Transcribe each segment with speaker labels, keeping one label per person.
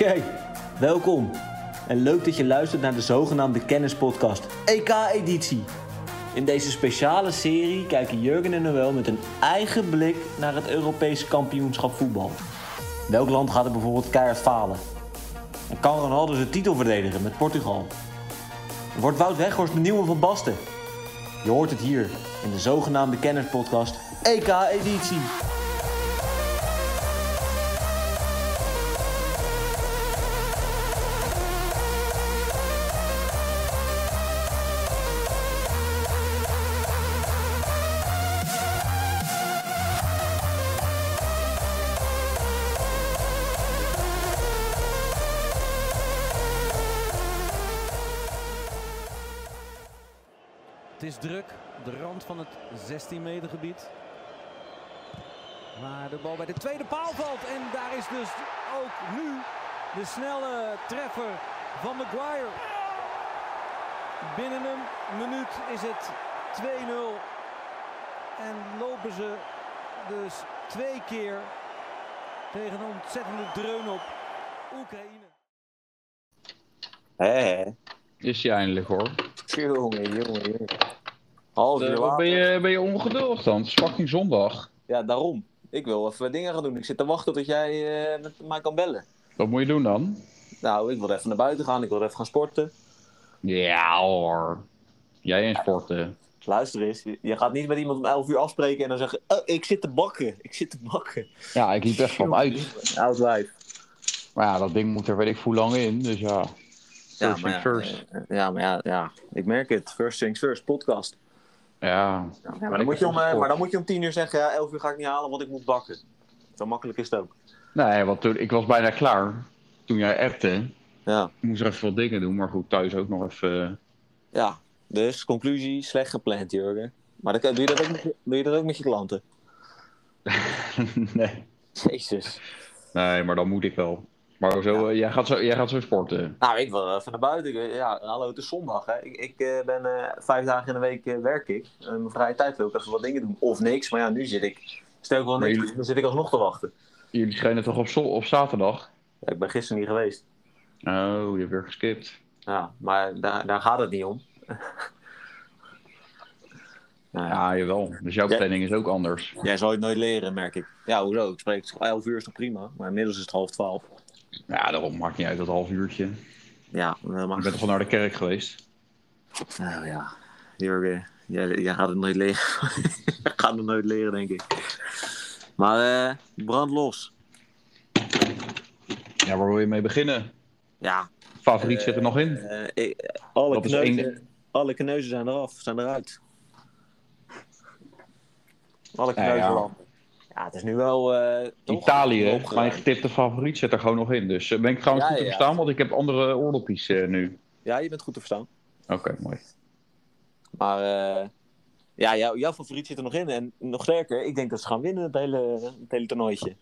Speaker 1: Hey, welkom en leuk dat je luistert naar de zogenaamde Kennispodcast EK-editie. In deze speciale serie kijken Jurgen en Noël met een eigen blik naar het Europese kampioenschap voetbal. Welk land gaat er bijvoorbeeld keihard falen? En kan Ronaldo zijn titel verdedigen met Portugal? Wordt Wout Weghorst de nieuwe Van Basten? Je hoort het hier in de zogenaamde Kennispodcast E EK-editie.
Speaker 2: Het is druk, de rand van het 16 meter gebied. Maar de bal bij de tweede paal valt en daar is dus ook nu de snelle treffer van Maguire. Binnen een minuut is het 2-0 en lopen ze dus twee keer tegen een ontzettende dreun op Oekraïne.
Speaker 3: Hé,
Speaker 4: Is je eindelijk hoor.
Speaker 3: jongen, jongen, jongen. Half uur
Speaker 4: Eh, wat
Speaker 3: later.
Speaker 4: ben, je, ben je ongeduldig dan? Het is fucking zondag.
Speaker 3: Ja, daarom. Ik wil even dingen gaan doen. Ik zit te wachten tot jij eh, met mij kan bellen.
Speaker 4: Wat moet je doen dan?
Speaker 3: Nou, ik wil even naar buiten gaan. Ik wil even gaan sporten.
Speaker 4: Ja hoor. Jij en sporten.
Speaker 3: Luister eens, je je gaat niet met iemand om 11 uur afspreken en dan zeggen: oh, ik zit te bakken. Ik zit te bakken.
Speaker 4: Ja, ik liep echt van uit.
Speaker 3: Oud wijf.
Speaker 4: Maar ja, dat ding moet er weet ik hoe lang in. Dus ja.
Speaker 3: Ja,
Speaker 4: First
Speaker 3: maar
Speaker 4: things
Speaker 3: ja,
Speaker 4: first.
Speaker 3: eh, Ja, maar ja, ja, ik merk het. First things first, podcast.
Speaker 4: Ja.
Speaker 3: Ja, maar,
Speaker 4: lekker
Speaker 3: dan moet je om, eh,
Speaker 4: gesport.
Speaker 3: maar dan moet je om 10 uur zeggen: ja, 11 uur ga ik niet halen, want ik moet bakken. Zo makkelijk is het ook.
Speaker 4: Nee, want toen, ik was bijna klaar. Toen jij appte.
Speaker 3: Ja.
Speaker 4: Ik moest er even wat dingen doen. Maar goed, thuis ook nog even. eh,
Speaker 3: ja, dus conclusie: slecht gepland, Jurgen. Maar dan, doe, je dat ook met, je- doe je dat ook met je klanten?
Speaker 4: eh, nee.
Speaker 3: Jezus.
Speaker 4: nee, maar dan moet ik wel. Maar zo, eh, jij, gaat zo, jij gaat zo sporten.
Speaker 3: Nou, ik wil even naar buiten. Ja, hallo, het is zondag. Hè. Ik, ik eh, ben eh, vijf dagen in de week eh, werk ik. In mijn vrije tijd wil ik even wat dingen doen. Of niks, maar ja, nu zit ik. Stel ik wel
Speaker 4: Maar
Speaker 3: niks,
Speaker 4: jullie-
Speaker 3: dan zit ik alsnog te wachten.
Speaker 4: Jullie schijnen toch op, zo- op zaterdag?
Speaker 3: Ja, ik ben gisteren niet geweest.
Speaker 4: Oh, je hebt weer geskipt.
Speaker 3: Ja, maar daar, daar gaat het niet om. nou, ja.
Speaker 4: Ja, jawel. Dus jouw
Speaker 3: Ja.
Speaker 4: planning is ook anders.
Speaker 3: Jij zal het nooit leren, merk ik. Ja, hoezo? Ik spreek 11 uur is toch prima, maar inmiddels is het half twaalf.
Speaker 4: Ja, daarom maakt niet uit dat half uurtje. Je
Speaker 3: Ja, dat mag.
Speaker 4: bent toch al naar de kerk geweest?
Speaker 3: Nou ja, Jurgen, jij, jij gaat het nooit leren. jij gaat het nooit leren, denk ik. Maar eh, brand los.
Speaker 4: Ja, waar wil je mee beginnen?
Speaker 3: Ja,
Speaker 4: Favoriet zit er nog in.
Speaker 3: eh, ik- alle,
Speaker 4: Dat is
Speaker 3: kneuzen, alle kneuzen zijn eraf, zijn eruit. Alle
Speaker 4: Ja,
Speaker 3: kneuzen
Speaker 4: ja.
Speaker 3: eraf. Ja, het is nu wel... eh, toch? eh,
Speaker 4: Italië, hè?
Speaker 3: Opgeruimd.
Speaker 4: mijn getipte favoriet zit er gewoon nog in. Dus eh, ben ik trouwens
Speaker 3: Ja,
Speaker 4: goed te
Speaker 3: ja.
Speaker 4: verstaan, want ik heb andere oordopjes eh, nu.
Speaker 3: Ja, je bent goed te verstaan.
Speaker 4: Oké, mooi.
Speaker 3: Maar eh, ja, jouw- jouw favoriet zit er nog in. En nog sterker, ik denk dat ze gaan winnen het hele, het hele toernooitje.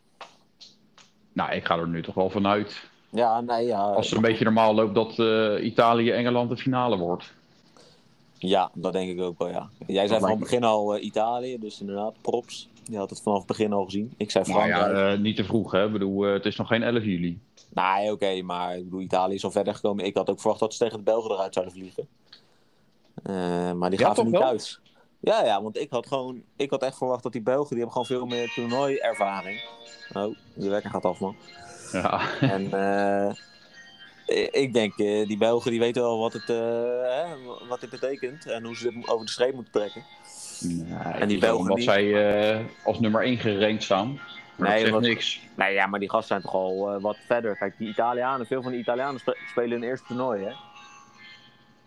Speaker 4: Nou, ik ga er nu toch wel vanuit.
Speaker 3: Ja, nee, ja.
Speaker 4: Als het een beetje normaal loopt dat eh, Italië-Engeland de finale wordt.
Speaker 3: Ja, dat denk ik ook wel, ja. Jij zei
Speaker 4: lijkt
Speaker 3: vanaf het
Speaker 4: me-
Speaker 3: begin al eh, Italië, dus inderdaad, props. Je had het vanaf het begin al gezien. Ik zei
Speaker 4: Maar
Speaker 3: Frankrijk.
Speaker 4: ja, eh, niet te vroeg, hè. Ik bedoel, eh, het is nog geen 11 juli.
Speaker 3: Nee, oké, maar ik bedoel, Italië is al verder gekomen. Ik had ook verwacht dat ze tegen de Belgen eruit zouden vliegen. Eh, maar die
Speaker 4: Ja,
Speaker 3: gaven
Speaker 4: toch
Speaker 3: niet
Speaker 4: wel?
Speaker 3: thuis. Ja, ja, want ik had gewoon... Ik had echt verwacht dat die Belgen, die hebben gewoon veel meer toernooiervaring. Oh, de wekker gaat af, man.
Speaker 4: Ja,
Speaker 3: En eh, ik- ik denk, eh, die Belgen die weten wel wat, het, eh, hè, wat dit betekent. En hoe ze dit over de streep moeten trekken.
Speaker 4: en
Speaker 3: die
Speaker 4: die
Speaker 3: Belgen
Speaker 4: Omdat
Speaker 3: die-
Speaker 4: zij eh, als nummer 1 gerankt staan. Maar
Speaker 3: Nee,
Speaker 4: dat zegt
Speaker 3: want-
Speaker 4: niks.
Speaker 3: Nee, ja, maar die gasten zijn toch al eh, wat verder. Kijk, die Italianen, veel van de Italianen spe- spelen hun eerste toernooi, hè?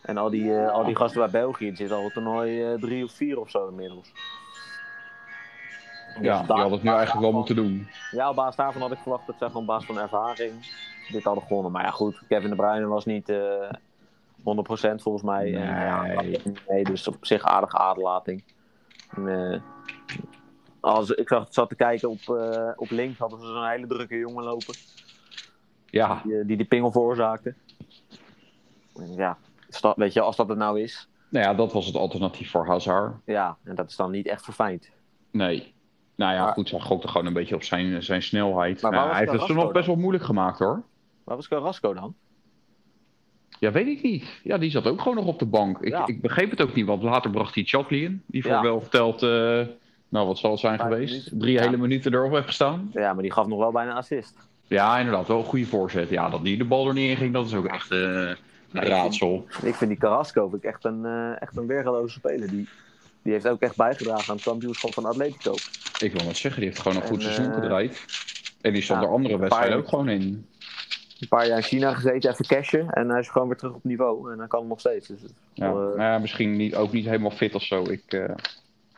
Speaker 3: En al die, eh, al die gasten bij België, die zitten al op toernooi eh, drie of vier of zo inmiddels. Dus
Speaker 4: Ja, die
Speaker 3: daar-
Speaker 4: had het nu eigenlijk wel moeten doen.
Speaker 3: Ja, op basis daarvan had ik verwacht dat zij gewoon op basis van ervaring dit hadden gewonnen. Maar ja, goed, Kevin de Bruyne was niet eh 100% volgens mij. En, eh, ja,
Speaker 4: Nee.
Speaker 3: nee, dus op zich aardige aderlating. En, eh, als, ik zag, zat te kijken op, eh, op links, hadden ze zo'n hele drukke jongen lopen.
Speaker 4: Ja,
Speaker 3: die die, die pingel veroorzaakte. Ja, is dat- weet je, als dat het nou is.
Speaker 4: nou ja, dat was het alternatief voor Hazard.
Speaker 3: Ja, en dat is dan niet echt verfijnd.
Speaker 4: Nee. Nou ja,
Speaker 3: Maar-
Speaker 4: goed, hij gokte gewoon een beetje op zijn, zijn snelheid.
Speaker 3: Maar
Speaker 4: Nou,
Speaker 3: waar was
Speaker 4: hij heeft het toen
Speaker 3: Carrasco
Speaker 4: nog best wel moeilijk gemaakt hoor.
Speaker 3: Waar was Carrasco dan?
Speaker 4: Ja, weet ik niet. Ja, die zat ook gewoon nog op de bank. Ik,
Speaker 3: Ja.
Speaker 4: ik begreep het ook niet, want later bracht hij Chatley in. Die voor
Speaker 3: Ja.
Speaker 4: wel verteld, eh, nou wat zal het zijn
Speaker 3: Vijf
Speaker 4: geweest?
Speaker 3: minuten.
Speaker 4: Drie
Speaker 3: Ja.
Speaker 4: hele minuten erop heeft gestaan.
Speaker 3: Ja, maar die gaf nog wel bijna een assist.
Speaker 4: Ja, inderdaad, wel een goede voorzet. Ja, dat die de bal er niet in ging, dat is ook echt eh, een raadsel.
Speaker 3: Ik vind die Carrasco vind ik echt een, eh echt een weergeloze speler. Die, die heeft ook echt bijgedragen aan het kampioenschap van Atletico.
Speaker 4: Ik wil net zeggen, die heeft gewoon een goed
Speaker 3: En,
Speaker 4: seizoen
Speaker 3: eh,
Speaker 4: gedraaid. En die stond
Speaker 3: ja,
Speaker 4: er andere
Speaker 3: een
Speaker 4: wedstrijden
Speaker 3: paar-
Speaker 4: ook gewoon in.
Speaker 3: Een paar jaar in China gezeten, even cashen. En hij is gewoon weer terug op niveau. En hij kan nog steeds. Dus, het-
Speaker 4: Ja,
Speaker 3: wel, eh,
Speaker 4: nou ja, misschien niet, ook niet helemaal fit of zo. Ik, eh,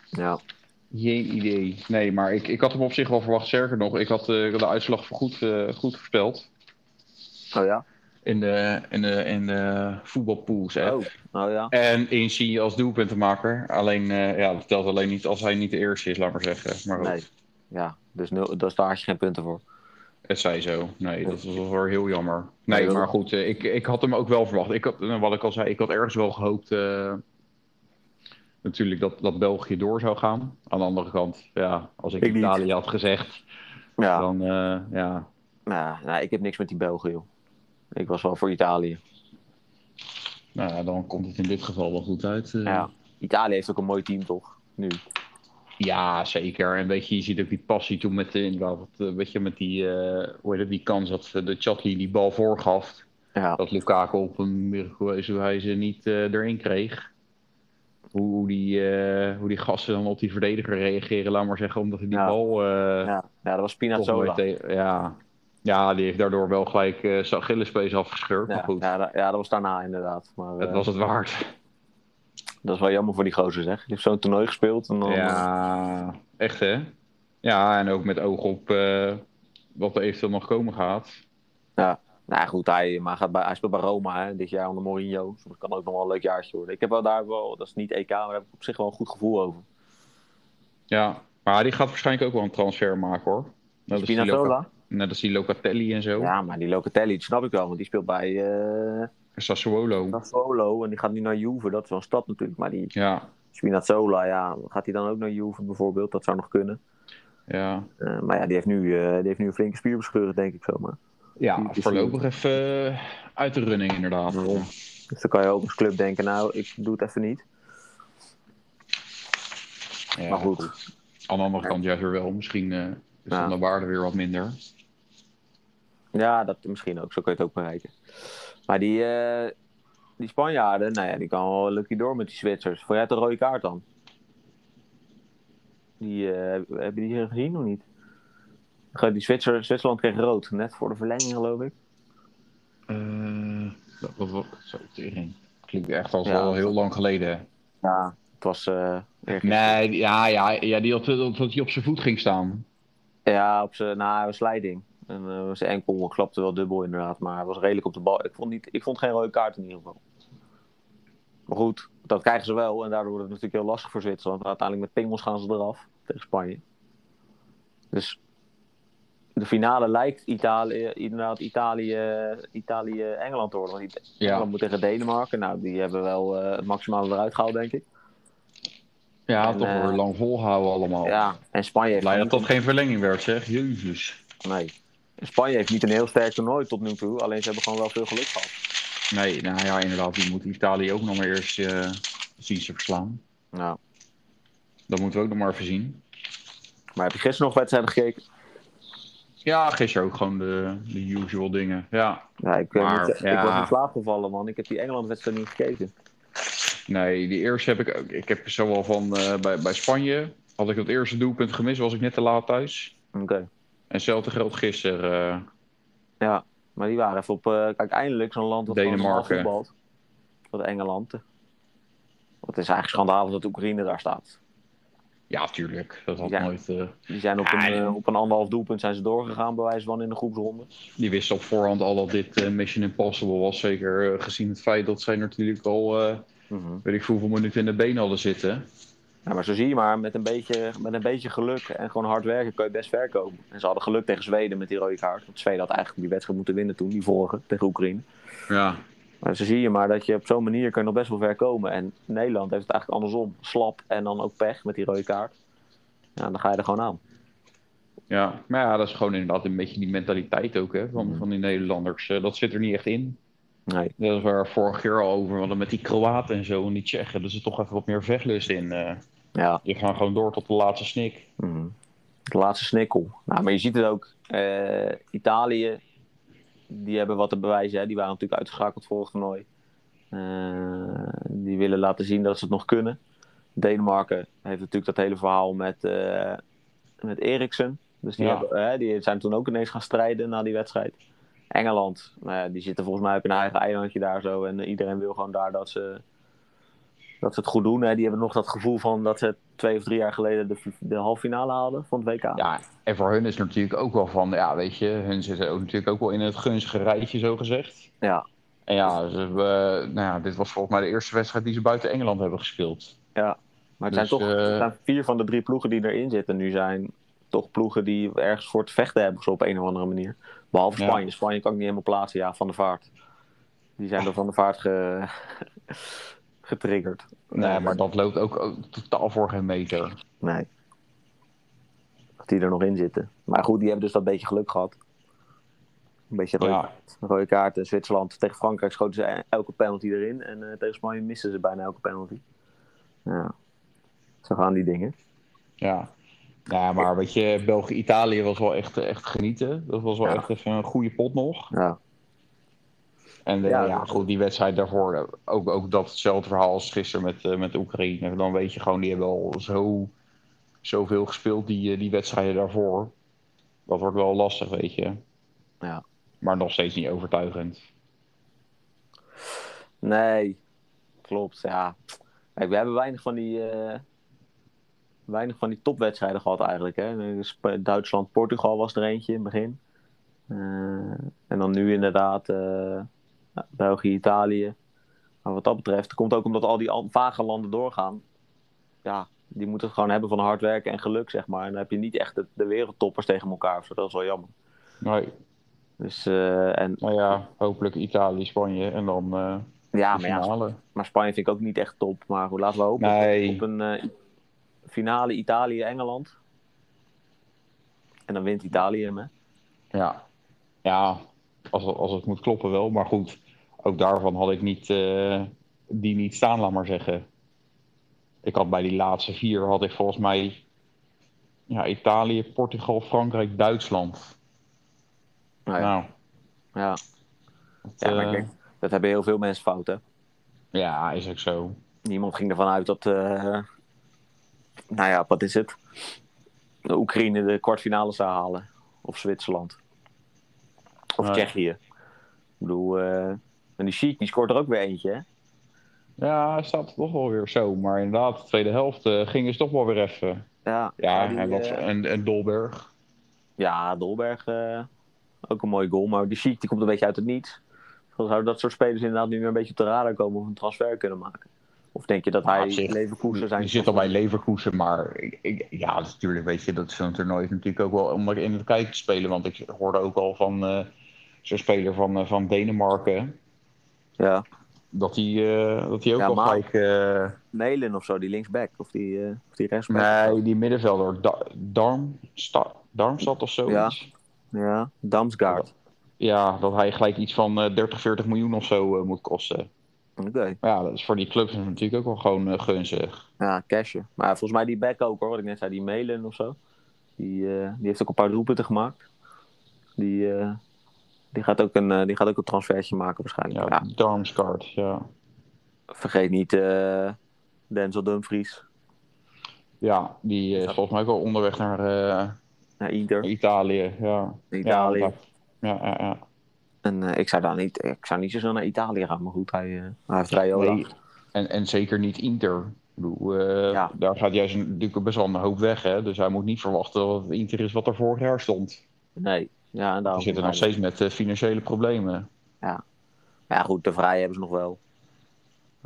Speaker 3: ja.
Speaker 4: Geen idee. Nee, maar ik, ik had hem op zich wel verwacht. Sterker nog, ik had eh, de uitslag voor goed, eh, goed voorspeld.
Speaker 3: Oh ja?
Speaker 4: In de, in de, in de voetbalpools. app.
Speaker 3: Oh, oh ja.
Speaker 4: En Insi als doelpuntenmaker. Alleen, eh, ja, dat telt alleen niet als hij niet de eerste is, laat maar zeggen. Maar goed,
Speaker 3: Nee. Ja, dus nul, dus daar had je geen punten voor.
Speaker 4: het zij zo. Nee, dat was wel weer heel jammer. Nee,
Speaker 3: Nee, dat-
Speaker 4: maar goed, eh, ik, ik had hem ook wel verwacht. Ik had, eh, wat ik al zei, ik had ergens wel gehoopt... eh, natuurlijk dat, dat België door zou gaan. Aan de andere kant, ja, als ik,
Speaker 3: Ik niet.
Speaker 4: Italië had gezegd,
Speaker 3: Ja.
Speaker 4: dan eh, ja,
Speaker 3: Nou, nou, ik heb niks met die Belgen, joh. Ik was wel voor Italië.
Speaker 4: Nou ja, dan komt het in dit geval wel goed uit. eh.
Speaker 3: Ja. Italië heeft ook een mooi team, toch? Nu.
Speaker 4: Ja, zeker. En weet je, je ziet ook die passie toen met, de, inderdaad, wat, eh, weet je, met die, eh, hoe heet het, die kans dat eh, de Chatley die bal voorgaf.
Speaker 3: Ja.
Speaker 4: Dat Lukaku op een miraculeuze wijze niet eh, erin kreeg. Hoe, hoe die, eh, hoe die gasten dan op die verdediger reageren, laat maar zeggen, omdat hij die
Speaker 3: Ja.
Speaker 4: bal... eh,
Speaker 3: Ja, ja dat was
Speaker 4: toch
Speaker 3: Spinazzola.
Speaker 4: nooit tegen- ja. ja, die heeft daardoor wel gelijk eh zijn Achillespees afgescheurd. maar
Speaker 3: Ja,
Speaker 4: goed,
Speaker 3: ja, da- ja, dat was daarna inderdaad. Maar
Speaker 4: het
Speaker 3: eh,
Speaker 4: was het waard.
Speaker 3: dat is wel jammer voor die gozer, zeg. Die heeft zo'n toernooi gespeeld. En dan, eh,
Speaker 4: Ja, echt hè? Ja, en ook met oog op eh, wat er eventueel nog komen gaat.
Speaker 3: Nou ja, goed, hij, maar hij gaat bij, hij speelt bij Roma hè, dit jaar onder Mourinho. Dus dat kan ook nog wel een leuk jaartje worden. Ik heb wel daar wel, dat is niet EK, maar daar heb ik op zich wel een goed gevoel over.
Speaker 4: Ja, maar die gaat waarschijnlijk ook wel een transfer maken hoor. Net als die Loca-
Speaker 3: Spinazzola?
Speaker 4: Net als die Locatelli en zo.
Speaker 3: Ja, maar die Locatelli, dat snap ik wel, want die speelt bij eh
Speaker 4: Sassuolo.
Speaker 3: Sassuolo en die gaat nu naar Juve. Dat is wel een stap natuurlijk, maar die
Speaker 4: Ja,
Speaker 3: Spinazzola, ja, gaat hij dan ook naar Juve bijvoorbeeld? Dat zou nog kunnen.
Speaker 4: ja.
Speaker 3: Eh, maar ja, die heeft, nu, eh, die heeft nu een flinke spier bescheuren, denk ik zomaar.
Speaker 4: Ja,
Speaker 3: Die is-
Speaker 4: voorlopig even eh, uit de running inderdaad.
Speaker 3: Daarom. Dus dan kan je ook als club denken, nou, ik doe het even niet.
Speaker 4: Ja,
Speaker 3: maar goed,
Speaker 4: Aan de andere kant juist weer wel. Misschien eh, is
Speaker 3: Ja.
Speaker 4: dan de waarde weer wat minder.
Speaker 3: Ja, dat misschien ook. Zo kun je het ook bereiken. Maar die, eh, die Spanjaarden, nou ja, die kan wel lucky door met die Zwitsers. Vond jij het een rode kaart dan? Die, eh, heb je die gezien of niet? Die Zwitser, Zwitserland kreeg rood, net voor de verlenging geloof ik.
Speaker 4: Eh, dat- dat- dat- zo, tering. Klinkt echt als
Speaker 3: Ja.
Speaker 4: al heel lang geleden.
Speaker 3: Ja. Het was... eh, erg-
Speaker 4: Nee, ja, ja, ja die had, dat, dat hij op zijn voet ging staan.
Speaker 3: Ja, op zijn na een slijding. En eh, zijn enkel klapte wel dubbel inderdaad, maar hij was redelijk op de bal. Ik vond, niet, ik vond geen rode kaart in ieder geval. Maar goed, dat krijgen ze wel en daardoor wordt het natuurlijk heel lastig voor Zwitserland. Maar uiteindelijk met pingels gaan ze eraf tegen Spanje. Dus de finale lijkt Italië, inderdaad Italië, Italië Engeland te worden. Want Ita- Engeland moet tegen Denemarken. Nou, die hebben wel eh, het maximale eruit gehaald, denk ik.
Speaker 4: Ja,
Speaker 3: En,
Speaker 4: toch
Speaker 3: eh,
Speaker 4: weer lang volhouden allemaal.
Speaker 3: Ja, en Spanje heeft
Speaker 4: Blij
Speaker 3: gewoon
Speaker 4: dat dat geen verlenging werd, zeg. Jezus.
Speaker 3: Nee. Spanje heeft niet een heel sterk toernooi tot nu toe. Alleen ze hebben gewoon wel veel geluk gehad.
Speaker 4: Nee, nou ja, inderdaad. Die moet Italië ook nog maar eerst eh, zien ze verslaan.
Speaker 3: Nou,
Speaker 4: Dat moeten we ook nog maar even zien.
Speaker 3: maar heb je gisteren nog wedstrijden gekeken?
Speaker 4: Ja, gisteren ook gewoon de, de usual dingen. Ja,
Speaker 3: Ja, ik, eh,
Speaker 4: Maar,
Speaker 3: moet zeggen, ik
Speaker 4: ja.
Speaker 3: was in slaap gevallen, man. Ik heb die Engeland-wedstrijd niet gekeken.
Speaker 4: nee, die eerste heb ik ook. Ik heb zowel van eh, bij, bij Spanje. Had ik dat eerste doelpunt gemist, was ik net te laat thuis.
Speaker 3: Oké.
Speaker 4: En hetzelfde geldt gisteren. eh,
Speaker 3: Ja, maar die waren even op... eh, kijk, eindelijk zo'n land dat
Speaker 4: Denemarken.
Speaker 3: gewoon normaal voetbalt. Wat Engeland. Wat is eigenlijk schandalig dat Oekraïne daar staat.
Speaker 4: ja, tuurlijk. Dat had
Speaker 3: Ja.
Speaker 4: nooit. eh,
Speaker 3: Die zijn op,
Speaker 4: Ja,
Speaker 3: een,
Speaker 4: die-
Speaker 3: eh, op een anderhalf doelpunt zijn ze doorgegaan, bij wijze van in de groepsronde.
Speaker 4: Die wisten op voorhand al dat dit eh, Mission Impossible was. Zeker eh, gezien het feit dat zij natuurlijk al, eh, weet ik veel hoeveel minuten in de benen hadden zitten.
Speaker 3: Ja, maar zo zie je maar, met een, beetje, met een beetje geluk en gewoon hard werken kan je best ver komen. En ze hadden geluk tegen Zweden met die rode kaart. Want Zweden had eigenlijk die wedstrijd moeten winnen toen, die vorige, tegen Oekraïne.
Speaker 4: Ja.
Speaker 3: Maar zo zie je maar dat je op zo'n manier kan je nog best wel ver komen. En Nederland heeft het eigenlijk andersom. Slap en dan ook pech met die rode kaart. Ja, dan ga je er gewoon aan.
Speaker 4: Ja, maar ja, dat is gewoon inderdaad een beetje die mentaliteit ook hè, van, van die Nederlanders. Eh, dat zit er niet echt in.
Speaker 3: Nee.
Speaker 4: Dat is waar we vorig jaar al over hadden met die Kroaten en zo en die Tsjechen. Er zit toch even wat meer vechtlust in. eh.
Speaker 3: Ja.
Speaker 4: je gaat gewoon door tot de laatste snik.
Speaker 3: Mhm. De laatste snikkel. Nou, maar je ziet het ook. eh, Italië, die hebben wat te bewijzen. Hè. Die waren natuurlijk uitgeschakeld vorig toernooi. Eh, die willen laten zien dat ze het nog kunnen. Denemarken heeft natuurlijk dat hele verhaal met, eh met Eriksen. Dus die,
Speaker 4: Ja.
Speaker 3: hebben, hè, die zijn toen ook ineens gaan strijden na die wedstrijd. Engeland, nou ja, die zitten volgens mij op hun eigen eilandje daar zo. En eh, iedereen wil gewoon daar dat ze, dat ze het goed doen. Hè. Die hebben nog dat gevoel van dat ze twee of drie jaar geleden de, de halve finale haalden van het WK.
Speaker 4: Ja, en voor hun is het natuurlijk ook wel van, ja weet je, hun zitten ook natuurlijk ook wel in het gunstige rijtje zo gezegd.
Speaker 3: Ja.
Speaker 4: En ja, ze hebben, eh, nou ja, dit was volgens mij de eerste wedstrijd die ze buiten Engeland hebben gespeeld.
Speaker 3: Maar het
Speaker 4: Dus,
Speaker 3: zijn toch
Speaker 4: eh,
Speaker 3: het zijn vier van de drie ploegen die erin zitten nu zijn toch ploegen die ergens voor te vechten hebben, zo op een of andere manier. Behalve
Speaker 4: Ja.
Speaker 3: Spanje. Spanje kan ik niet helemaal plaatsen. Ja, Van de Vaart. Die zijn door Van de Vaart ge- getriggerd. Eh,
Speaker 4: Nee, maar dat loopt ook, ook totaal voor geen meter.
Speaker 3: Nee. Dat die er nog in zitten. Maar goed, die hebben dus dat beetje geluk gehad. Een beetje rode,
Speaker 4: Ja.
Speaker 3: rode kaart in Zwitserland. Tegen Frankrijk schoten ze e- elke penalty erin. En eh, tegen Spanje missen ze bijna elke penalty. Ja. Zo gaan die dingen.
Speaker 4: Ja. Ja, maar weet je, België-Italië was wel echt, echt genieten. Dat was wel
Speaker 3: Ja.
Speaker 4: echt even een goede pot nog.
Speaker 3: Ja.
Speaker 4: En eh,
Speaker 3: Ja, dus
Speaker 4: ja,
Speaker 3: dat-
Speaker 4: goed, die wedstrijd daarvoor, eh, ook, ook dat hetzelfde verhaal als gisteren met, eh, met Oekraïne. Dan weet je gewoon, die hebben al zo, zoveel gespeeld, die, eh, die wedstrijden daarvoor. Dat wordt wel lastig, weet je.
Speaker 3: Ja.
Speaker 4: Maar nog steeds niet overtuigend.
Speaker 3: Nee, klopt. Ja. Kijk, we hebben weinig van die, eh, weinig van die topwedstrijden gehad eigenlijk. Hè? Sp- Duitsland-Portugal was er eentje in het begin. Eh, en dan nu inderdaad eh, ja, België-Italië. Maar wat dat betreft, komt ook omdat al die an- vage landen doorgaan. Ja, die moeten het gewoon hebben van hard werken en geluk, zeg maar. En dan heb je niet echt de, de wereldtoppers tegen elkaar. of zo. Dat is wel jammer.
Speaker 4: Nee,
Speaker 3: Dus, eh, en,
Speaker 4: nou ja, hopelijk Italië, Spanje en dan eh
Speaker 3: ja, Ah,
Speaker 4: de
Speaker 3: maar ja,
Speaker 4: finale.
Speaker 3: Maar Spanje vind ik ook niet echt top. Maar hoe laten we hopen
Speaker 4: Nee.
Speaker 3: op een eh, finale Italië-Engeland. En dan wint Italië hem, hè?
Speaker 4: Ja, ja als, het- als het moet kloppen wel. Maar goed, ook daarvan had ik niet, eh, die niet staan, laat maar zeggen. Ik had bij die laatste vier, had ik volgens mij ja, Italië, Portugal, Frankrijk, Duitsland.
Speaker 3: Nou ja,
Speaker 4: Nou,
Speaker 3: ja.
Speaker 4: dat,
Speaker 3: Ja, maar
Speaker 4: eh,
Speaker 3: kijk, dat hebben heel veel mensen fout, hè?
Speaker 4: ja, is ook zo.
Speaker 3: Niemand ging ervan uit dat... eh, nou ja, wat is het? De Oekraïne de kwartfinale zou halen. Of Zwitserland. Of
Speaker 4: Nee.
Speaker 3: Tsjechië. Ik bedoel... eh, en die Chic, die scoort er ook weer eentje, hè?
Speaker 4: Ja, hij staat toch wel weer zo. Maar inderdaad, de tweede helft eh, gingen ze toch wel weer even.
Speaker 3: Ja,
Speaker 4: Ja,
Speaker 3: die,
Speaker 4: en, dat,
Speaker 3: eh,
Speaker 4: en, en Dolberg.
Speaker 3: Ja, Dolberg eh, ook een mooie goal. Maar die Chic die komt een beetje uit het niets. Dan zouden dat soort spelers inderdaad nu weer een beetje op de radar komen of een transfer kunnen maken. Of denk je dat
Speaker 4: Maar
Speaker 3: hij
Speaker 4: op zich,
Speaker 3: Leverkusen zijn?
Speaker 4: Die zit al bij Leverkusen, maar ik, ik- ja, natuurlijk weet je, dat is zo'n toernooi is natuurlijk ook wel om er in het kijken te spelen. Want ik hoorde ook al van eh, zo'n speler van, eh, van Denemarken,
Speaker 3: Ja,
Speaker 4: dat hij eh, dat hij ook
Speaker 3: Ja,
Speaker 4: al
Speaker 3: maar-
Speaker 4: gelijk... eh,
Speaker 3: Melen of zo, die linksback. Of die, eh, of die rechtsback.
Speaker 4: nee, die middenvelder, Da- Darmstad, Darmstad of zoiets. Ja.
Speaker 3: Ja, Damsgaard.
Speaker 4: dat hij gelijk iets van eh, 30, 40 miljoen of zo eh, moet kosten.
Speaker 3: Oké,
Speaker 4: Maar ja, dat is voor die clubs natuurlijk ook wel gewoon eh, gunstig.
Speaker 3: ja, cashen. Maar volgens mij die back ook hoor, wat ik net zei, die Melen of zo. Die, eh, die heeft ook een paar doelpunten gemaakt. Die, eh, die, gaat ook een, eh, die gaat ook een transfertje maken waarschijnlijk.
Speaker 4: Ja,
Speaker 3: Ja,
Speaker 4: Darmstad, ja.
Speaker 3: vergeet niet eh, Denzel Dumfries
Speaker 4: Ja, die eh, is volgens mij ook al onderweg naar... eh,
Speaker 3: naar Inter.
Speaker 4: Italië, ja.
Speaker 3: Italië.
Speaker 4: Ja, dat- ja, ja, ja.
Speaker 3: En eh, ik, zou daar niet, ik zou niet zo snel naar Italië gaan, maar goed, hij, eh, hij heeft Raiola.
Speaker 4: Nee, En, en zeker niet Inter. Ik bedoel, eh,
Speaker 3: Ja.
Speaker 4: Daar gaat juist een- natuurlijk best wel een hoop weg, hè. Dus hij moet niet verwachten dat het Inter is wat er vorig jaar stond.
Speaker 3: Nee, ja, en
Speaker 4: Ze
Speaker 3: daarom.
Speaker 4: zitten nog steeds met eh, financiële problemen.
Speaker 3: Maar Ja, goed, de vrije hebben ze nog wel.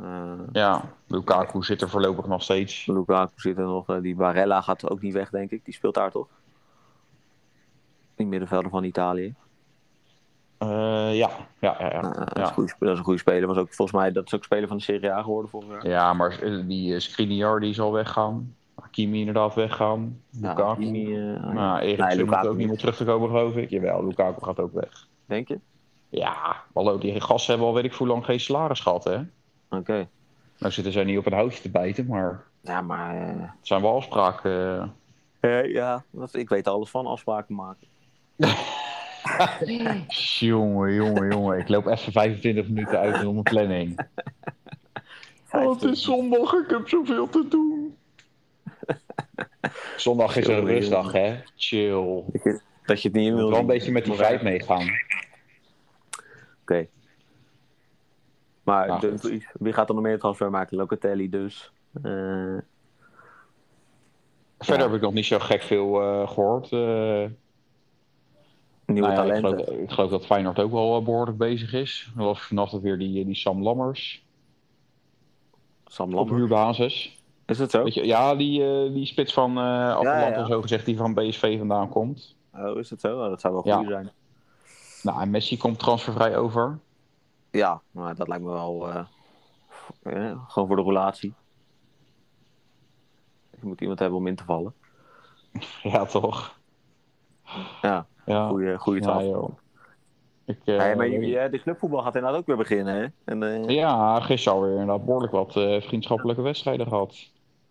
Speaker 3: Eh
Speaker 4: Ja, Lukaku zit er voorlopig nog steeds.
Speaker 3: Lukaku zit er nog. eh, die Barella gaat ook niet weg, denk ik. Die speelt daar toch? Die middenvelder van Italië.
Speaker 4: Eh, ja, ja, ja. ja.
Speaker 3: Eh, dat, is
Speaker 4: Ja.
Speaker 3: een goede, dat is een goede speler. Was ook, volgens mij dat is ook speler van de Serie A geworden vorig jaar.
Speaker 4: eh, Ja, maar eh, die eh, Skriniar die zal weggaan. Maar Kimi inderdaad weggaan. Lukaku.
Speaker 3: Kimi, eh, ah, ja.
Speaker 4: nou, Eriksen
Speaker 3: Nee,
Speaker 4: moet
Speaker 3: Lukaku
Speaker 4: ook niet
Speaker 3: niet.
Speaker 4: meer terug te komen, geloof ik. Jawel, Lukaku gaat ook weg.
Speaker 3: Denk je?
Speaker 4: Ja, hallo, die gasten hebben al weet ik hoe lang geen salaris gehad, hè?
Speaker 3: Oké.
Speaker 4: Nou zitten zij niet op een houtje te bijten, maar
Speaker 3: Ja, maar... eh,
Speaker 4: het zijn wel afspraken. eh.
Speaker 3: eh, ja, dat, ik weet er alles van afspraken maken.
Speaker 4: Jongen, jongen, jongen. Ik loop even 25 minuten uit om mijn planning. Oh, het is zondag, ik heb zoveel te doen. Zondag is een
Speaker 3: Jongen,
Speaker 4: rustdag, hè? Chill. Ik
Speaker 3: Dat je het niet in wil
Speaker 4: wil wel een
Speaker 3: zien.
Speaker 4: beetje met die
Speaker 3: Maar-
Speaker 4: vijf meegaan.
Speaker 3: Oké. Maar
Speaker 4: Nou,
Speaker 3: de- wie gaat er nog meer transfer maken? Locatelli dus. Eh,
Speaker 4: Verder heb ik nog niet zo gek veel eh, gehoord. eh
Speaker 3: nieuwe
Speaker 4: nou ja, ik,
Speaker 3: talenten.
Speaker 4: geloof, ik geloof dat Feyenoord ook wel eh, behoorlijk bezig is. Er was vannacht weer die, die Sam Lammers
Speaker 3: Sam
Speaker 4: op
Speaker 3: Lambert.
Speaker 4: huurbasis.
Speaker 3: Is dat zo?
Speaker 4: Weet je, ja, die, eh, die spits van eh Atalanta,
Speaker 3: ja.
Speaker 4: zo gezegd, die van BSV vandaan komt.
Speaker 3: Oh, is dat zo? Oh, dat zou wel
Speaker 4: Ja.
Speaker 3: goed zijn.
Speaker 4: Nou, en Messi komt transfervrij over.
Speaker 3: Ja, maar dat lijkt me wel... eh, eh, gewoon voor de relatie. Je moet iemand hebben om in te vallen.
Speaker 4: Ja, toch?
Speaker 3: Ja,
Speaker 4: Ja,
Speaker 3: goede goede
Speaker 4: ja
Speaker 3: tafel.
Speaker 4: joh. Ik, eh,
Speaker 3: Hey, maar jullie, eh, de clubvoetbal gaat inderdaad ook weer beginnen, hè? En, eh,
Speaker 4: Ja, gisteren alweer inderdaad behoorlijk wat eh, vriendschappelijke wedstrijden gehad.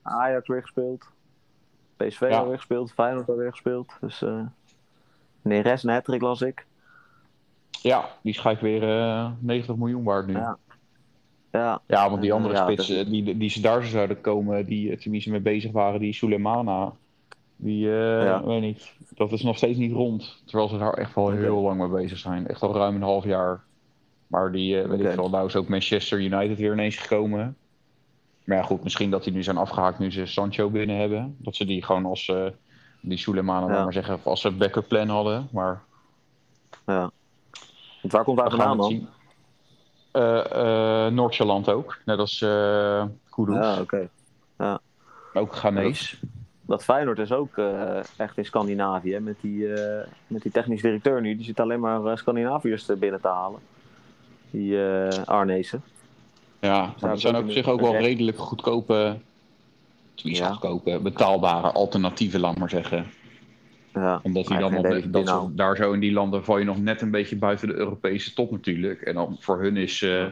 Speaker 3: Ajax weer gespeeld. PSV
Speaker 4: Ja.
Speaker 3: alweer gespeeld. Feyenoord alweer gespeeld. Dus eh Neres, een hattrick las ik.
Speaker 4: Ja, die schijnt weer eh 90 miljoen waard nu.
Speaker 3: Ja.
Speaker 4: Ja,
Speaker 3: Ja,
Speaker 4: want die andere
Speaker 3: Ja,
Speaker 4: spits
Speaker 3: dat-
Speaker 4: eh, die, die ze daar zo zouden komen, die eh, tenminste mee bezig waren, die Sulemana. Die, eh,
Speaker 3: Ja.
Speaker 4: weet niet, dat is nog steeds niet rond. Terwijl ze daar echt wel heel lang mee bezig zijn. Echt al ruim een half jaar. Maar die, eh, weet
Speaker 3: Oké.
Speaker 4: ik wel, nou is ook Manchester United weer ineens gekomen. Maar ja, goed, misschien dat die nu zijn afgehaakt nu ze Sancho binnen hebben. Dat ze die gewoon als, eh, die Sulemana,
Speaker 3: Ja.
Speaker 4: laat maar zeggen, als ze backup plan hadden. Maar
Speaker 3: want waar komt hij
Speaker 4: We gaan
Speaker 3: vandaan
Speaker 4: het
Speaker 3: dan?
Speaker 4: zien. Eh, eh, Noord-Zeeland ook. Net als eh Kudus.
Speaker 3: Ja, Ah, oké.
Speaker 4: Ook Ghanese.
Speaker 3: Dat Feyenoord is ook eh, echt in Scandinavië. hè, Met die, eh, met die technisch directeur nu. Die zit alleen maar eh, Scandinaviërs er binnen te halen. Die eh Arnezen.
Speaker 4: Ja, maar dat zijn ook op zich ook wel
Speaker 3: Oké.
Speaker 4: redelijk goedkope... Tenminste,
Speaker 3: Ja.
Speaker 4: goedkope, betaalbare alternatieven, laat maar zeggen.
Speaker 3: Ja.
Speaker 4: Omdat die
Speaker 3: Ja,
Speaker 4: dan
Speaker 3: geen
Speaker 4: nog
Speaker 3: idee
Speaker 4: net-
Speaker 3: wat die
Speaker 4: dat zo-
Speaker 3: nou-
Speaker 4: daar zo in die landen val je nog net een beetje buiten de Europese top natuurlijk. En dan voor hun is, eh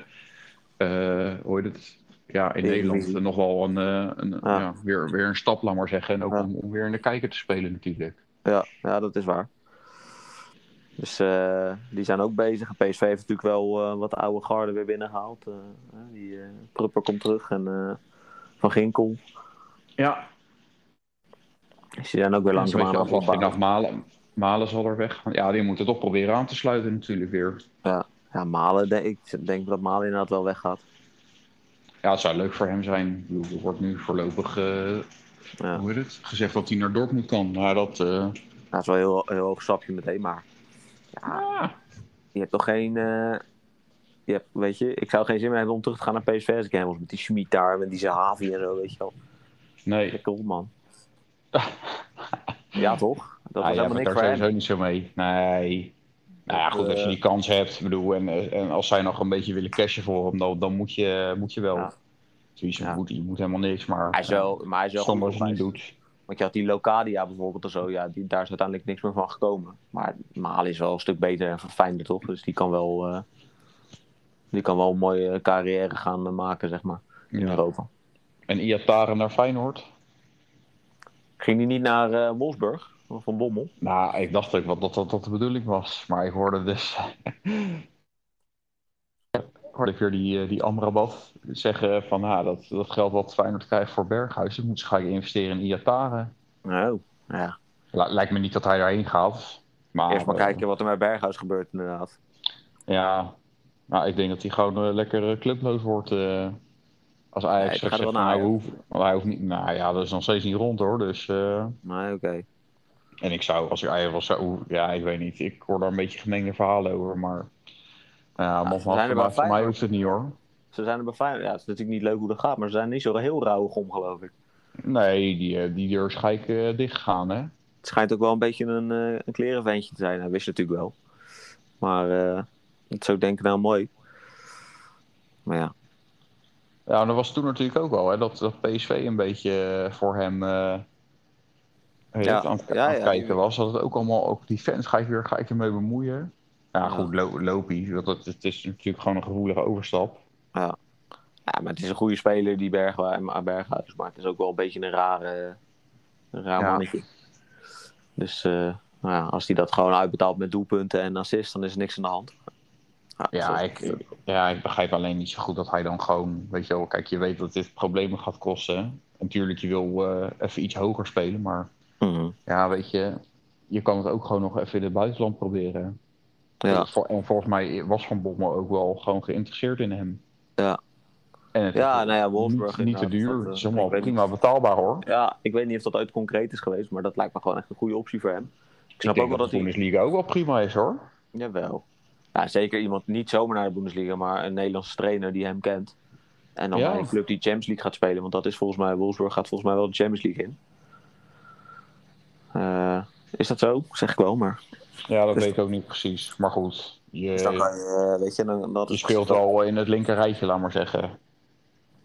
Speaker 4: eh, hoe heet het? Ja, in
Speaker 3: Eredivisie.
Speaker 4: Nederland nog wel een, eh, een,
Speaker 3: Ja.
Speaker 4: ja. weer, weer een stap, laat maar zeggen. En ook
Speaker 3: Ja.
Speaker 4: om, om weer in de kijker te spelen natuurlijk.
Speaker 3: Ja, ja, dat is waar. Dus eh, die zijn ook bezig. PSV heeft natuurlijk wel eh, wat oude garden weer binnengehaald. eh, hè, die eh Prupper komt terug en eh, Van Ginkel.
Speaker 4: Ja,
Speaker 3: Dus die zijn ook weer
Speaker 4: Ja, een
Speaker 3: langzaam aan
Speaker 4: beetje
Speaker 3: het
Speaker 4: afwachten. Ik
Speaker 3: opbouwen.
Speaker 4: dacht, Malen, Malen zal er weg. gaan. Ja, die moeten toch proberen aan te sluiten natuurlijk weer.
Speaker 3: Ja, Malen, denk, ik denk dat Malen inderdaad wel weggaat.
Speaker 4: Ja, het zou leuk voor hem zijn. Ik bedoel, er wordt nu voorlopig eh,
Speaker 3: Ja.
Speaker 4: hoe heet het? gezegd dat hij naar Dortmund kan. Maar dat, eh,
Speaker 3: Dat is wel een heel, heel hoog stapje meteen, maar je hebt toch geen... eh, je hebt, weet je, ik zou geen zin meer hebben om terug te gaan naar PSV als ik hem was. Met die Schmid daar, met die Zahavi en zo, weet je wel.
Speaker 4: nee.
Speaker 3: Lekker op, man. Ja, toch? Dat
Speaker 4: Ah,
Speaker 3: was
Speaker 4: ja,
Speaker 3: helemaal
Speaker 4: maar
Speaker 3: niks
Speaker 4: daar
Speaker 3: voor hem.
Speaker 4: sowieso niet zo mee. Nee. Nou ja, goed, als je die kans hebt. ik Bedoel, en, eh, en als zij nog een beetje willen cashen voor hem, dan, dan moet, je, moet je wel.
Speaker 3: Ja.
Speaker 4: Zoiets, je
Speaker 3: Ja.
Speaker 4: moet, je moet helemaal niks, maar
Speaker 3: Hij is wel, maar hij is wel
Speaker 4: soms
Speaker 3: goed
Speaker 4: als je het niet
Speaker 3: opgeleid.
Speaker 4: doet.
Speaker 3: Want je had die Locadia bijvoorbeeld en zo, ja, die, daar is uiteindelijk niks meer van gekomen. Maar Malen is wel een stuk beter en verfijnder, toch? Dus die kan wel, eh, die kan wel een mooie carrière gaan eh, maken, zeg maar, in
Speaker 4: Ja.
Speaker 3: Europa.
Speaker 4: En Iataren naar Feyenoord?
Speaker 3: Ging die niet naar eh, Wolfsburg van Bommel?
Speaker 4: Nou, ik dacht ook wel dat dat, dat de bedoeling was. Maar ik hoorde dus. hoorde ik weer die, eh, die Amrabat zeggen: van ah, dat, dat geld wat Feyenoord krijgt voor Berghuis, dat moet ze gaan investeren in Iatare.
Speaker 3: Nou, ja.
Speaker 4: Li- lijkt me niet dat hij daarheen gaat. Maar,
Speaker 3: Eerst maar
Speaker 4: eh,
Speaker 3: kijken wat er met Berghuis gebeurt, inderdaad.
Speaker 4: Ja, nou, ik denk dat hij gewoon eh, lekker eh, clubloos wordt. eh, als Ajax
Speaker 3: Nee, die
Speaker 4: straks
Speaker 3: gaat
Speaker 4: zegt,
Speaker 3: wel
Speaker 4: van,
Speaker 3: naar
Speaker 4: nou,
Speaker 3: Ajax.
Speaker 4: hoef, want hij hoeft niet. Nou ja, dat is nog steeds niet rond hoor. Dus. eh,
Speaker 3: Nee, oké.
Speaker 4: En ik zou, als ik Ajax was, zou, ja, ik weet niet. Ik hoor daar een beetje gemengde verhalen over, maar... Nou ja,
Speaker 3: we zijn er
Speaker 4: nogmaals,
Speaker 3: wel
Speaker 4: voor, mij- voor mij
Speaker 3: Feyenoord.
Speaker 4: hoeft het niet hoor.
Speaker 3: Ze zijn er bij Feyenoord. Ja, het is natuurlijk niet leuk hoe dat gaat, maar ze zijn er niet zo heel rauwig om, geloof ik.
Speaker 4: Nee, die, eh, die deur is gelijk eh, dichtgegaan, hè?
Speaker 3: Het schijnt ook wel een beetje een, eh een klerenventje te zijn. Hij wist het natuurlijk wel. Maar eh, het zo denken nou mooi. Maar ja.
Speaker 4: Ja, en dat was toen natuurlijk ook al, hè, dat, dat PSV een beetje eh, voor hem eh, weet
Speaker 3: Ja.
Speaker 4: het, aan, het-
Speaker 3: Ja,
Speaker 4: aan het
Speaker 3: ja.
Speaker 4: kijken was. Dat het ook allemaal, ook die fans, ga ik, weer, ga ik ermee bemoeien? Ja,
Speaker 3: Ja.
Speaker 4: goed, lo Lopie, want het, het is natuurlijk gewoon een gevoelige overstap.
Speaker 3: Ja, maar het is een goede speler, die Bergwa- Ma- Berghuis. Maar het is ook wel een beetje een rare, een raar
Speaker 4: Ja.
Speaker 3: mannetje. Dus eh, nou ja, als hij dat gewoon uitbetaalt met doelpunten en assist, dan is er niks aan de hand.
Speaker 4: Ja
Speaker 3: dat-
Speaker 4: ik, ja, ik begrijp alleen niet zo goed dat hij dan gewoon, weet je wel, kijk, je weet dat dit problemen gaat kosten. En Natuurlijk, je wil eh, even iets hoger spelen, maar
Speaker 3: Mhm.
Speaker 4: ja, weet je, je kan het ook gewoon nog even in het buitenland proberen.
Speaker 3: Ja.
Speaker 4: En vol- En volgens mij was Van Bommel ook wel gewoon geïnteresseerd in hem.
Speaker 3: Ja.
Speaker 4: En het
Speaker 3: ja,
Speaker 4: is
Speaker 3: nou ja, Wolfsburg.
Speaker 4: niet, niet te
Speaker 3: inderdaad,
Speaker 4: duur,
Speaker 3: dat, eh,
Speaker 4: het is
Speaker 3: ik
Speaker 4: helemaal
Speaker 3: weet
Speaker 4: prima betaalbaar hoor.
Speaker 3: niet- ja, ik weet niet of dat ooit concreet is geweest, maar dat lijkt me gewoon echt een goede optie voor hem. Ik
Speaker 4: Ik
Speaker 3: snap ook
Speaker 4: denk
Speaker 3: wel
Speaker 4: dat,
Speaker 3: dat
Speaker 4: de
Speaker 3: hij...
Speaker 4: Bundesliga ook wel prima is hoor.
Speaker 3: Jawel. Ja, zeker iemand niet zomaar naar de Bundesliga, maar een Nederlandse trainer die hem kent. En dan
Speaker 4: Ja.
Speaker 3: bij een club die Champions League gaat spelen, want dat is volgens mij, Wolfsburg gaat volgens mij wel de Champions League in. Eh, is dat zo? Zeg ik wel, maar.
Speaker 4: Ja, dat weet ik ook niet precies. Maar goed,
Speaker 3: Dus dan
Speaker 4: je,
Speaker 3: ga je, eh, weet je, dan, dat
Speaker 4: je
Speaker 3: is
Speaker 4: speelt al in het linker rijtje, laat maar zeggen.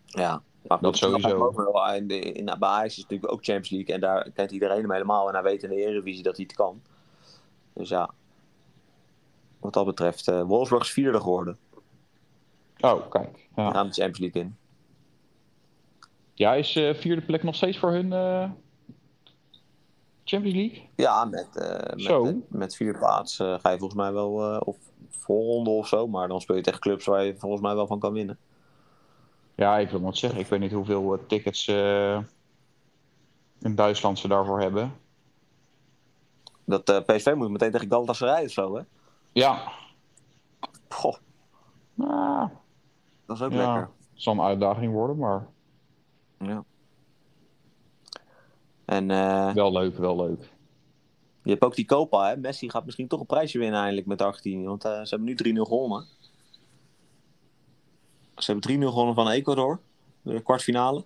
Speaker 3: Ja, maar goed,
Speaker 4: Dat sowieso.
Speaker 3: snap ik ook wel. En de- in, bij Ajax is het natuurlijk ook Champions League en daar kent iedereen hem helemaal. En hij weet in de Eredivisie dat hij het kan. Dus ja, wat dat betreft, eh Wolfsburg is vierde geworden.
Speaker 4: Oh, kijk.
Speaker 3: Ja.
Speaker 4: Ja.
Speaker 3: Gaan de Champions League in.
Speaker 4: Ja, is eh, vierde plek nog steeds voor hun eh, Champions League?
Speaker 3: Ja, met, eh, met,
Speaker 4: Zo.
Speaker 3: eh, met vier plaats eh, ga je volgens mij wel eh, of voorronde of zo. Maar dan speel je tegen clubs waar je volgens mij wel van kan winnen.
Speaker 4: Ja, ik wil maar zeggen. Ik weet niet hoeveel eh, tickets eh, in Duitsland ze daarvoor hebben.
Speaker 3: Dat eh, PSV moet meteen tegen Galatasaray of zo, hè?
Speaker 4: Ja,
Speaker 3: Goh,
Speaker 4: nou,
Speaker 3: dat is ook
Speaker 4: ja.
Speaker 3: lekker.
Speaker 4: Het zal een uitdaging worden, maar
Speaker 3: En eh,
Speaker 4: wel leuk, wel leuk.
Speaker 3: je hebt ook die Copa, hè? Messi gaat misschien toch een prijsje winnen eindelijk met Argentinië. Want eh, ze hebben nu 3-0 gewonnen. Ze hebben 3-0 gewonnen van Ecuador. De kwartfinale.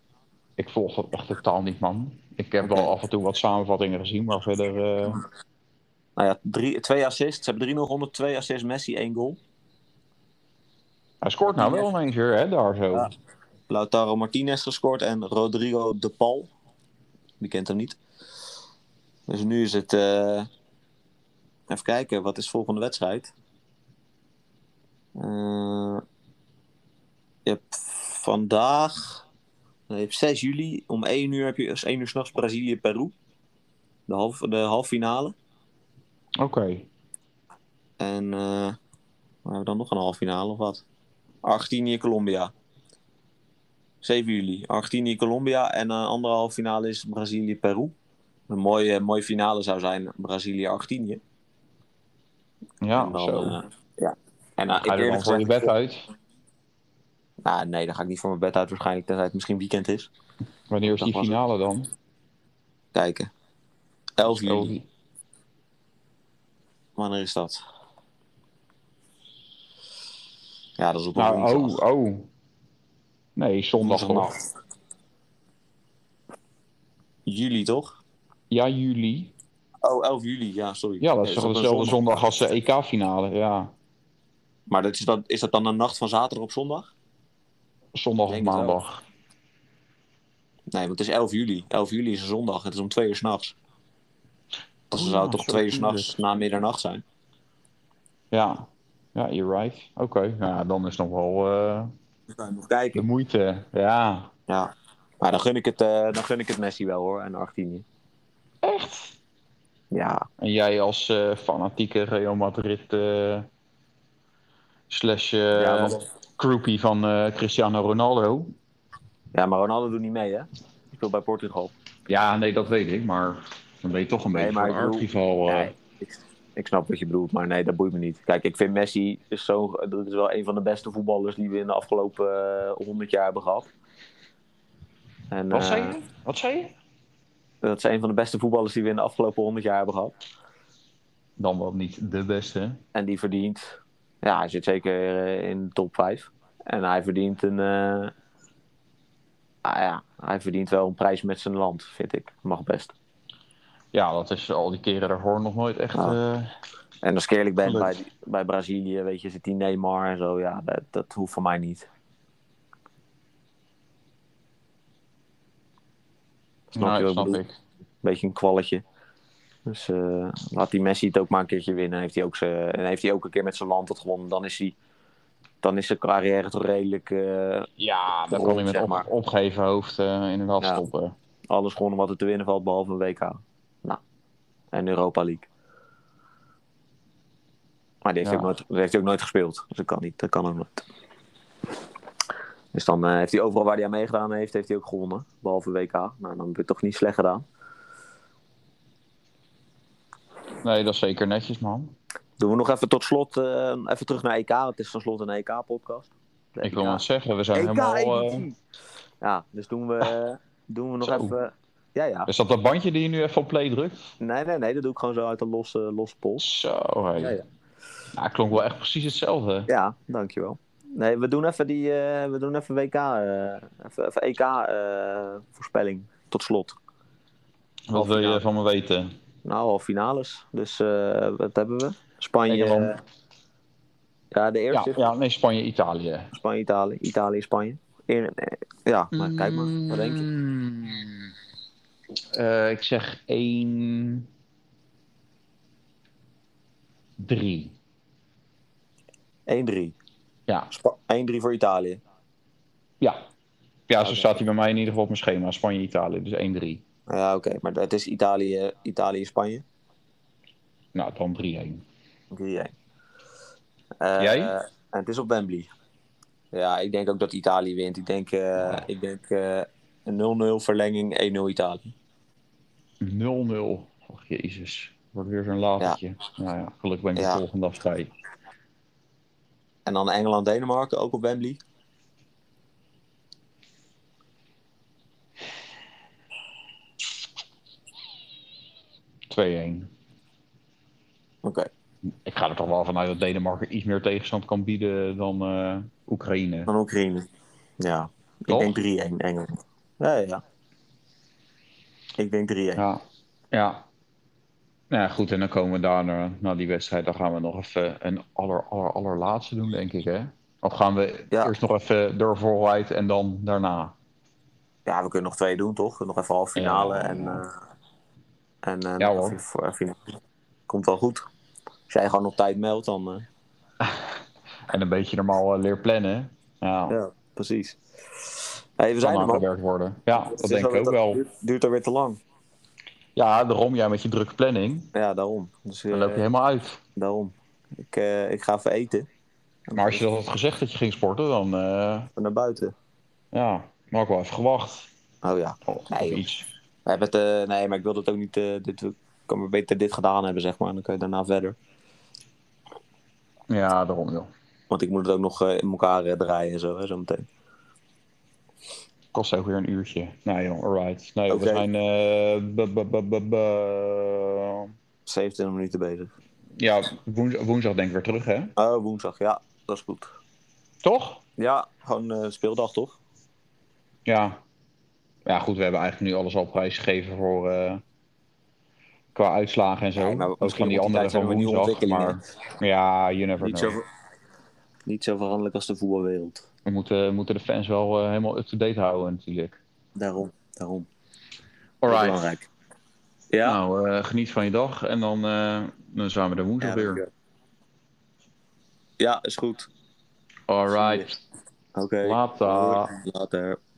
Speaker 4: Ik volg dat echt totaal niet, man. Ik heb
Speaker 3: Oké.
Speaker 4: wel af en toe wat samenvattingen gezien, maar verder... eh,
Speaker 3: Nou ja, drie, twee assists. Ze hebben 3-0 gewonnen, twee assists. Messi, één goal.
Speaker 4: Hij scoort nou wel ineens weer, hè, daar zo.
Speaker 3: Ja. Lautaro Martinez gescoord en Rodrigo de Paul. Die kent hem niet. Dus nu is het. eh, Even kijken, wat is volgende wedstrijd? Eh, je hebt vandaag. nee, Je hebt 6 juli om 1 uur heb je is 1 uur s'nachts Brazilië-Peru. De, half, de halffinale.
Speaker 4: Oké.
Speaker 3: En. eh, we hebben dan nog een halffinale of wat? Argentinië-Colombia. 7 juli. Argentinië-Colombia. En een andere halve finale is Brazilië-Peru. Een mooie, mooie finale zou zijn Brazilië-Argentinië.
Speaker 4: Ja,
Speaker 3: en dan,
Speaker 4: Ah, zo.
Speaker 3: eh, ja. En nou, ik
Speaker 4: Ga je er
Speaker 3: eerlijk
Speaker 4: dan voor je
Speaker 3: gezegd-
Speaker 4: bed uit?
Speaker 3: Nou, nee, dan ga ik niet voor mijn bed uit waarschijnlijk. Tenzij het misschien weekend is.
Speaker 4: Wanneer is
Speaker 3: Dat
Speaker 4: die
Speaker 3: was het.
Speaker 4: finale dan?
Speaker 3: Kijken. 11 juli.
Speaker 4: Oh,
Speaker 3: Wanneer is dat? Ja, dat is op een
Speaker 4: Nou,
Speaker 3: woensdag.
Speaker 4: oh, oh. Nee, zondag toch?
Speaker 3: Woensdagnacht. Juli, toch?
Speaker 4: Ja, juli.
Speaker 3: Oh, 11 juli, ja, sorry.
Speaker 4: Ja, dat
Speaker 3: Nee,
Speaker 4: is toch
Speaker 3: op een
Speaker 4: dezelfde zondag als de EK-finale. Ja,
Speaker 3: Maar dat is, dat, is dat dan een nacht van zaterdag op zondag?
Speaker 4: zondag of
Speaker 3: Denk het wel.
Speaker 4: maandag.
Speaker 3: Nee, want het is 11 juli. 11 juli is een zondag. Het is om twee uur s'nachts. Dus dan
Speaker 4: Oh,
Speaker 3: zou het toch
Speaker 4: zo
Speaker 3: twee uur
Speaker 4: tuurlijk.
Speaker 3: s'nachts na middernacht zijn.
Speaker 4: Ja, ja you're right. Oké, nou ja, dan is nog wel eh,
Speaker 3: Dan kan je nog
Speaker 4: de
Speaker 3: kijken.
Speaker 4: moeite. Ja,
Speaker 3: Ja. Maar dan gun ik het, eh, dan gun ik het Messi wel hoor, en Argentinië.
Speaker 4: echt.
Speaker 3: Ja.
Speaker 4: En jij als eh, fanatieke Real Madrid eh, slash eh,
Speaker 3: Ja, want-
Speaker 4: groupie van eh, Cristiano Ronaldo.
Speaker 3: ja, maar Ronaldo doet niet mee, hè? Ik speel bij Portugal.
Speaker 4: Ja, nee, dat weet ik, maar dan ben je toch een
Speaker 3: Nee,
Speaker 4: beetje
Speaker 3: maar
Speaker 4: van
Speaker 3: ik bedoel-
Speaker 4: aardrivaal. eh.
Speaker 3: Nee, ik, ik snap wat je bedoelt, maar nee, dat boeit me niet. Kijk, ik vind Messi is, zo, dat is wel een van de beste voetballers die we in de afgelopen eh, 100 jaar hebben gehad. En,
Speaker 4: Wat zei
Speaker 3: eh,
Speaker 4: je? Wat zei je?
Speaker 3: Dat is een van de beste voetballers die we in de afgelopen 100 jaar hebben gehad.
Speaker 4: Dan wel niet de beste.
Speaker 3: En die verdient. Ja, hij zit zeker eh, in de top 5. En hij verdient een. eh, ah ja, hij verdient wel een prijs met zijn land, vind ik. Mag best.
Speaker 4: Ja, dat is al die keren daarvoor nog nooit echt.
Speaker 3: Ja.
Speaker 4: eh,
Speaker 3: En als ik eerlijk ben, bij,
Speaker 4: Gelukkig.
Speaker 3: bij Brazilië, weet je, zit die Neymar en zo. Ja, dat, dat hoeft van mij niet. Snap je wat
Speaker 4: Nou, dat
Speaker 3: ik
Speaker 4: snap
Speaker 3: bedoel?
Speaker 4: ik.
Speaker 3: beetje een kwalletje. Dus eh, laat die Messi het ook maar een keertje winnen. Heeft hij ook, zijn- en heeft hij ook een keer met zijn land het gewonnen. Dan is, hij, dan is zijn carrière toch redelijk eh,
Speaker 4: Ja, dat
Speaker 3: Rond,
Speaker 4: kan hij met
Speaker 3: zeg
Speaker 4: op-
Speaker 3: maar.
Speaker 4: opgeven hoofd eh, inderdaad
Speaker 3: Ja.
Speaker 4: stoppen.
Speaker 3: alles gewonnen wat er te winnen valt. Behalve een WK. Nou. En Europa League. Maar die heeft,
Speaker 4: Ja.
Speaker 3: ook nooit, die heeft hij ook nooit gespeeld. Dus dat kan niet. Dat kan ook nooit. Dus dan eh, heeft hij overal waar hij aan meegedaan heeft, heeft hij ook gewonnen. Behalve WK. Nou, dan heb je het toch niet slecht gedaan.
Speaker 4: Nee, dat is zeker netjes, man.
Speaker 3: Doen we nog even tot slot, eh, even terug naar EK. Het is tenslotte een E EK-podcast.
Speaker 4: Ik wil maar zeggen, we zijn
Speaker 3: EK
Speaker 4: helemaal... eh,
Speaker 3: editie. Ja, dus doen we, doen we nog
Speaker 4: Zo. Dus-
Speaker 3: even... Ja, ja.
Speaker 4: is dat dat bandje die je nu even op play drukt?
Speaker 3: Nee, nee, nee. Dat doe ik gewoon zo uit de losse, losse pols.
Speaker 4: Zo, hey.
Speaker 3: Ja,
Speaker 4: ja,
Speaker 3: ja.
Speaker 4: klonk wel echt precies hetzelfde.
Speaker 3: Ja, dankjewel. Nee, we doen even die... eh, we doen even WK... eh, even, even EK-voorspelling. tot slot.
Speaker 4: Wat wil
Speaker 3: Halffinale.
Speaker 4: je van me weten?
Speaker 3: Nou, half finales. Dus eh, wat hebben we? Spanje...
Speaker 4: Nederland.
Speaker 3: eh, ja, de
Speaker 4: Ja,
Speaker 3: eerste.
Speaker 4: ja, nee, Spanje, Italië.
Speaker 3: Spanje, Italië. Italië, Spanje. Eer- eh, ja, maar kijk maar. Wat
Speaker 4: Mm.
Speaker 3: denk je?
Speaker 4: Eh, ik zeg 1... 3.
Speaker 3: 1-3.
Speaker 4: Ja,
Speaker 3: Spa- 1-3 voor Italië.
Speaker 4: ja. Ja, zo
Speaker 3: Oké.
Speaker 4: staat hij bij mij in ieder geval op mijn schema. Spanje, Italië, dus 1-3.
Speaker 3: Ja, oké. Maar het is Italië, Italië Spanje. 3-1.
Speaker 4: Nou, dan 3-1.
Speaker 3: Eh,
Speaker 4: Jij?
Speaker 3: eh, en het is op Wembley. Ja, ik denk ook dat Italië wint. Ik denk, eh, ik denk eh, een 0-0 verlenging, 1-0 Italië.
Speaker 4: 0-0. Och, Oh, jezus. Wordt weer zo'n latertje. Nou ja, gelukkig ben ik
Speaker 3: Ja.
Speaker 4: de volgende dag vrij.
Speaker 3: En dan Engeland-Denemarken, ook op Wembley. Oké.
Speaker 4: Ik ga er toch wel vanuit dat Denemarken iets meer tegenstand kan bieden dan eh, Oekraïne.
Speaker 3: Dan Oekraïne. Ja.
Speaker 4: Toch?
Speaker 3: Ik denk 3-1 Engeland. Ja, ja, ja. Ik denk 3-1.
Speaker 4: Ja. Ja. Nou ja, goed. En dan komen we daarna, na die wedstrijd, dan gaan we nog even een aller, aller, allerlaatste doen, denk ik, hè? Of gaan we
Speaker 3: Ja.
Speaker 4: eerst nog even door vooruit en dan daarna?
Speaker 3: Ja, we kunnen nog twee doen, toch? Nog even half finale
Speaker 4: Ja.
Speaker 3: en, eh, en eh,
Speaker 4: Ja,
Speaker 3: nog
Speaker 4: hoor.
Speaker 3: even voor- finale. Komt wel goed. Als jij gewoon op tijd meldt, dan... eh,
Speaker 4: En een beetje normaal eh, leer plannen. Ja,
Speaker 3: ja, precies. Hey, we
Speaker 4: dat
Speaker 3: zijn
Speaker 4: kan
Speaker 3: er, man.
Speaker 4: aangewerkt worden. Ja,
Speaker 3: Het
Speaker 4: dat
Speaker 3: is
Speaker 4: denk ik
Speaker 3: alweer
Speaker 4: ook
Speaker 3: te-
Speaker 4: wel.
Speaker 3: duurt- Duurt er weer te lang.
Speaker 4: Ja, daarom jij met je drukke planning.
Speaker 3: Ja, daarom. Dus, eh,
Speaker 4: Dan loop je helemaal uit.
Speaker 3: daarom. Ik, eh, ik ga even eten.
Speaker 4: Maar als je dat had gezegd dat je ging sporten, dan eh
Speaker 3: Even naar buiten.
Speaker 4: ja, maar ik wel even gewacht.
Speaker 3: Oh ja.
Speaker 4: Of,
Speaker 3: Nee,
Speaker 4: of
Speaker 3: joh.
Speaker 4: iets.
Speaker 3: We hebben het, eh, nee, maar ik wil dat ook niet... eh, dit, ik kan maar beter dit gedaan hebben, zeg maar. Dan kan je daarna verder.
Speaker 4: Ja, daarom joh.
Speaker 3: Want ik moet het ook nog eh, in elkaar eh, draaien en zo, hè, zo meteen.
Speaker 4: Kost ook weer een uurtje. Nou joh, alright. Nee,
Speaker 3: Oké.
Speaker 4: we zijn eh, bu- bu- bu- bu- bu-
Speaker 3: 27 minuten bezig.
Speaker 4: ja, woens- woensdag denk ik weer terug, hè?
Speaker 3: Oh, woensdag. Ja, dat is goed.
Speaker 4: Toch?
Speaker 3: Ja, gewoon eh, speeldag toch?
Speaker 4: Oh, Ja. Ja, goed, we hebben eigenlijk nu alles al prijsgegeven voor eh, qua uitslagen en zo.
Speaker 3: Nee, maar
Speaker 4: Ook
Speaker 3: misschien
Speaker 4: van die
Speaker 3: op die tijd
Speaker 4: andere
Speaker 3: zijn
Speaker 4: van
Speaker 3: er weer nieuwe
Speaker 4: woensdag. Maar
Speaker 3: ontwikkelingen.
Speaker 4: ja, you never
Speaker 3: Niet
Speaker 4: know.
Speaker 3: zo, niet zo veranderlijk als de voetbalwereld.
Speaker 4: We moeten, moeten de fans wel eh, helemaal up-to-date houden natuurlijk.
Speaker 3: Daarom, daarom.
Speaker 4: Alright.
Speaker 3: Belangrijk. Ja,
Speaker 4: Nou, eh, geniet van je dag en dan, eh, dan zijn we er woensdag
Speaker 3: ja,
Speaker 4: weer.
Speaker 3: dankjewel. ja, is goed.
Speaker 4: Alright.
Speaker 3: Oké.
Speaker 4: Later.
Speaker 3: Later.